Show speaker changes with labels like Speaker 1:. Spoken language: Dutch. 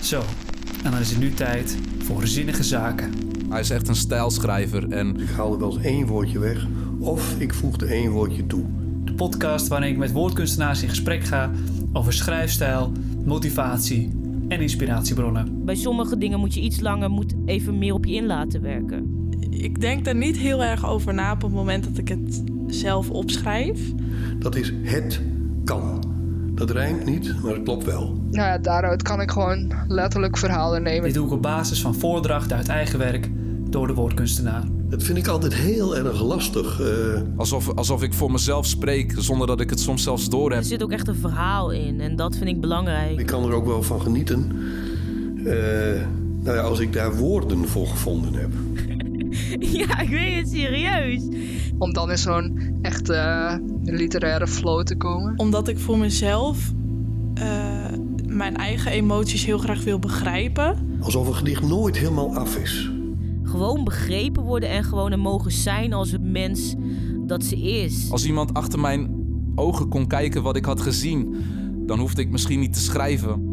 Speaker 1: Zo, en dan is het nu tijd voor zinnige zaken.
Speaker 2: Hij is echt een stijlschrijver en
Speaker 3: Ik haalde wel eens één woordje weg of ik voegde één woordje toe.
Speaker 1: De podcast waarin ik met woordkunstenaars in gesprek ga over schrijfstijl, motivatie en inspiratiebronnen.
Speaker 4: Bij sommige dingen moet je iets langer, moet even meer op je in laten werken.
Speaker 5: Ik denk daar niet heel erg over na op het moment dat ik het zelf opschrijf.
Speaker 3: Dat is het kan. Dat rijmt niet, maar het klopt wel.
Speaker 6: Nou ja, daaruit kan ik gewoon letterlijk verhalen nemen.
Speaker 1: Dit doe ik op basis van voordrachten uit eigen werk door de woordkunstenaar.
Speaker 3: Dat vind ik altijd heel erg lastig. eh,
Speaker 2: alsof, alsof ik voor mezelf spreek zonder dat ik het soms zelfs doorheb.
Speaker 4: Er zit ook echt een verhaal in en dat vind ik belangrijk.
Speaker 3: ik kan er ook wel van genieten. Eh, nou ja, als ik daar woorden voor gevonden heb.
Speaker 4: Ja, ik weet het serieus.
Speaker 6: Om dan in zo'n echt eh, literaire flow te komen.
Speaker 5: Omdat ik voor mezelf eh, mijn eigen emoties heel graag wil begrijpen.
Speaker 3: Alsof een gedicht nooit helemaal af is.
Speaker 4: Gewoon begrepen worden en gewoon er mogen zijn als het mens dat ze is.
Speaker 2: Als iemand achter mijn ogen kon kijken wat ik had gezien, dan hoefde ik misschien niet te schrijven.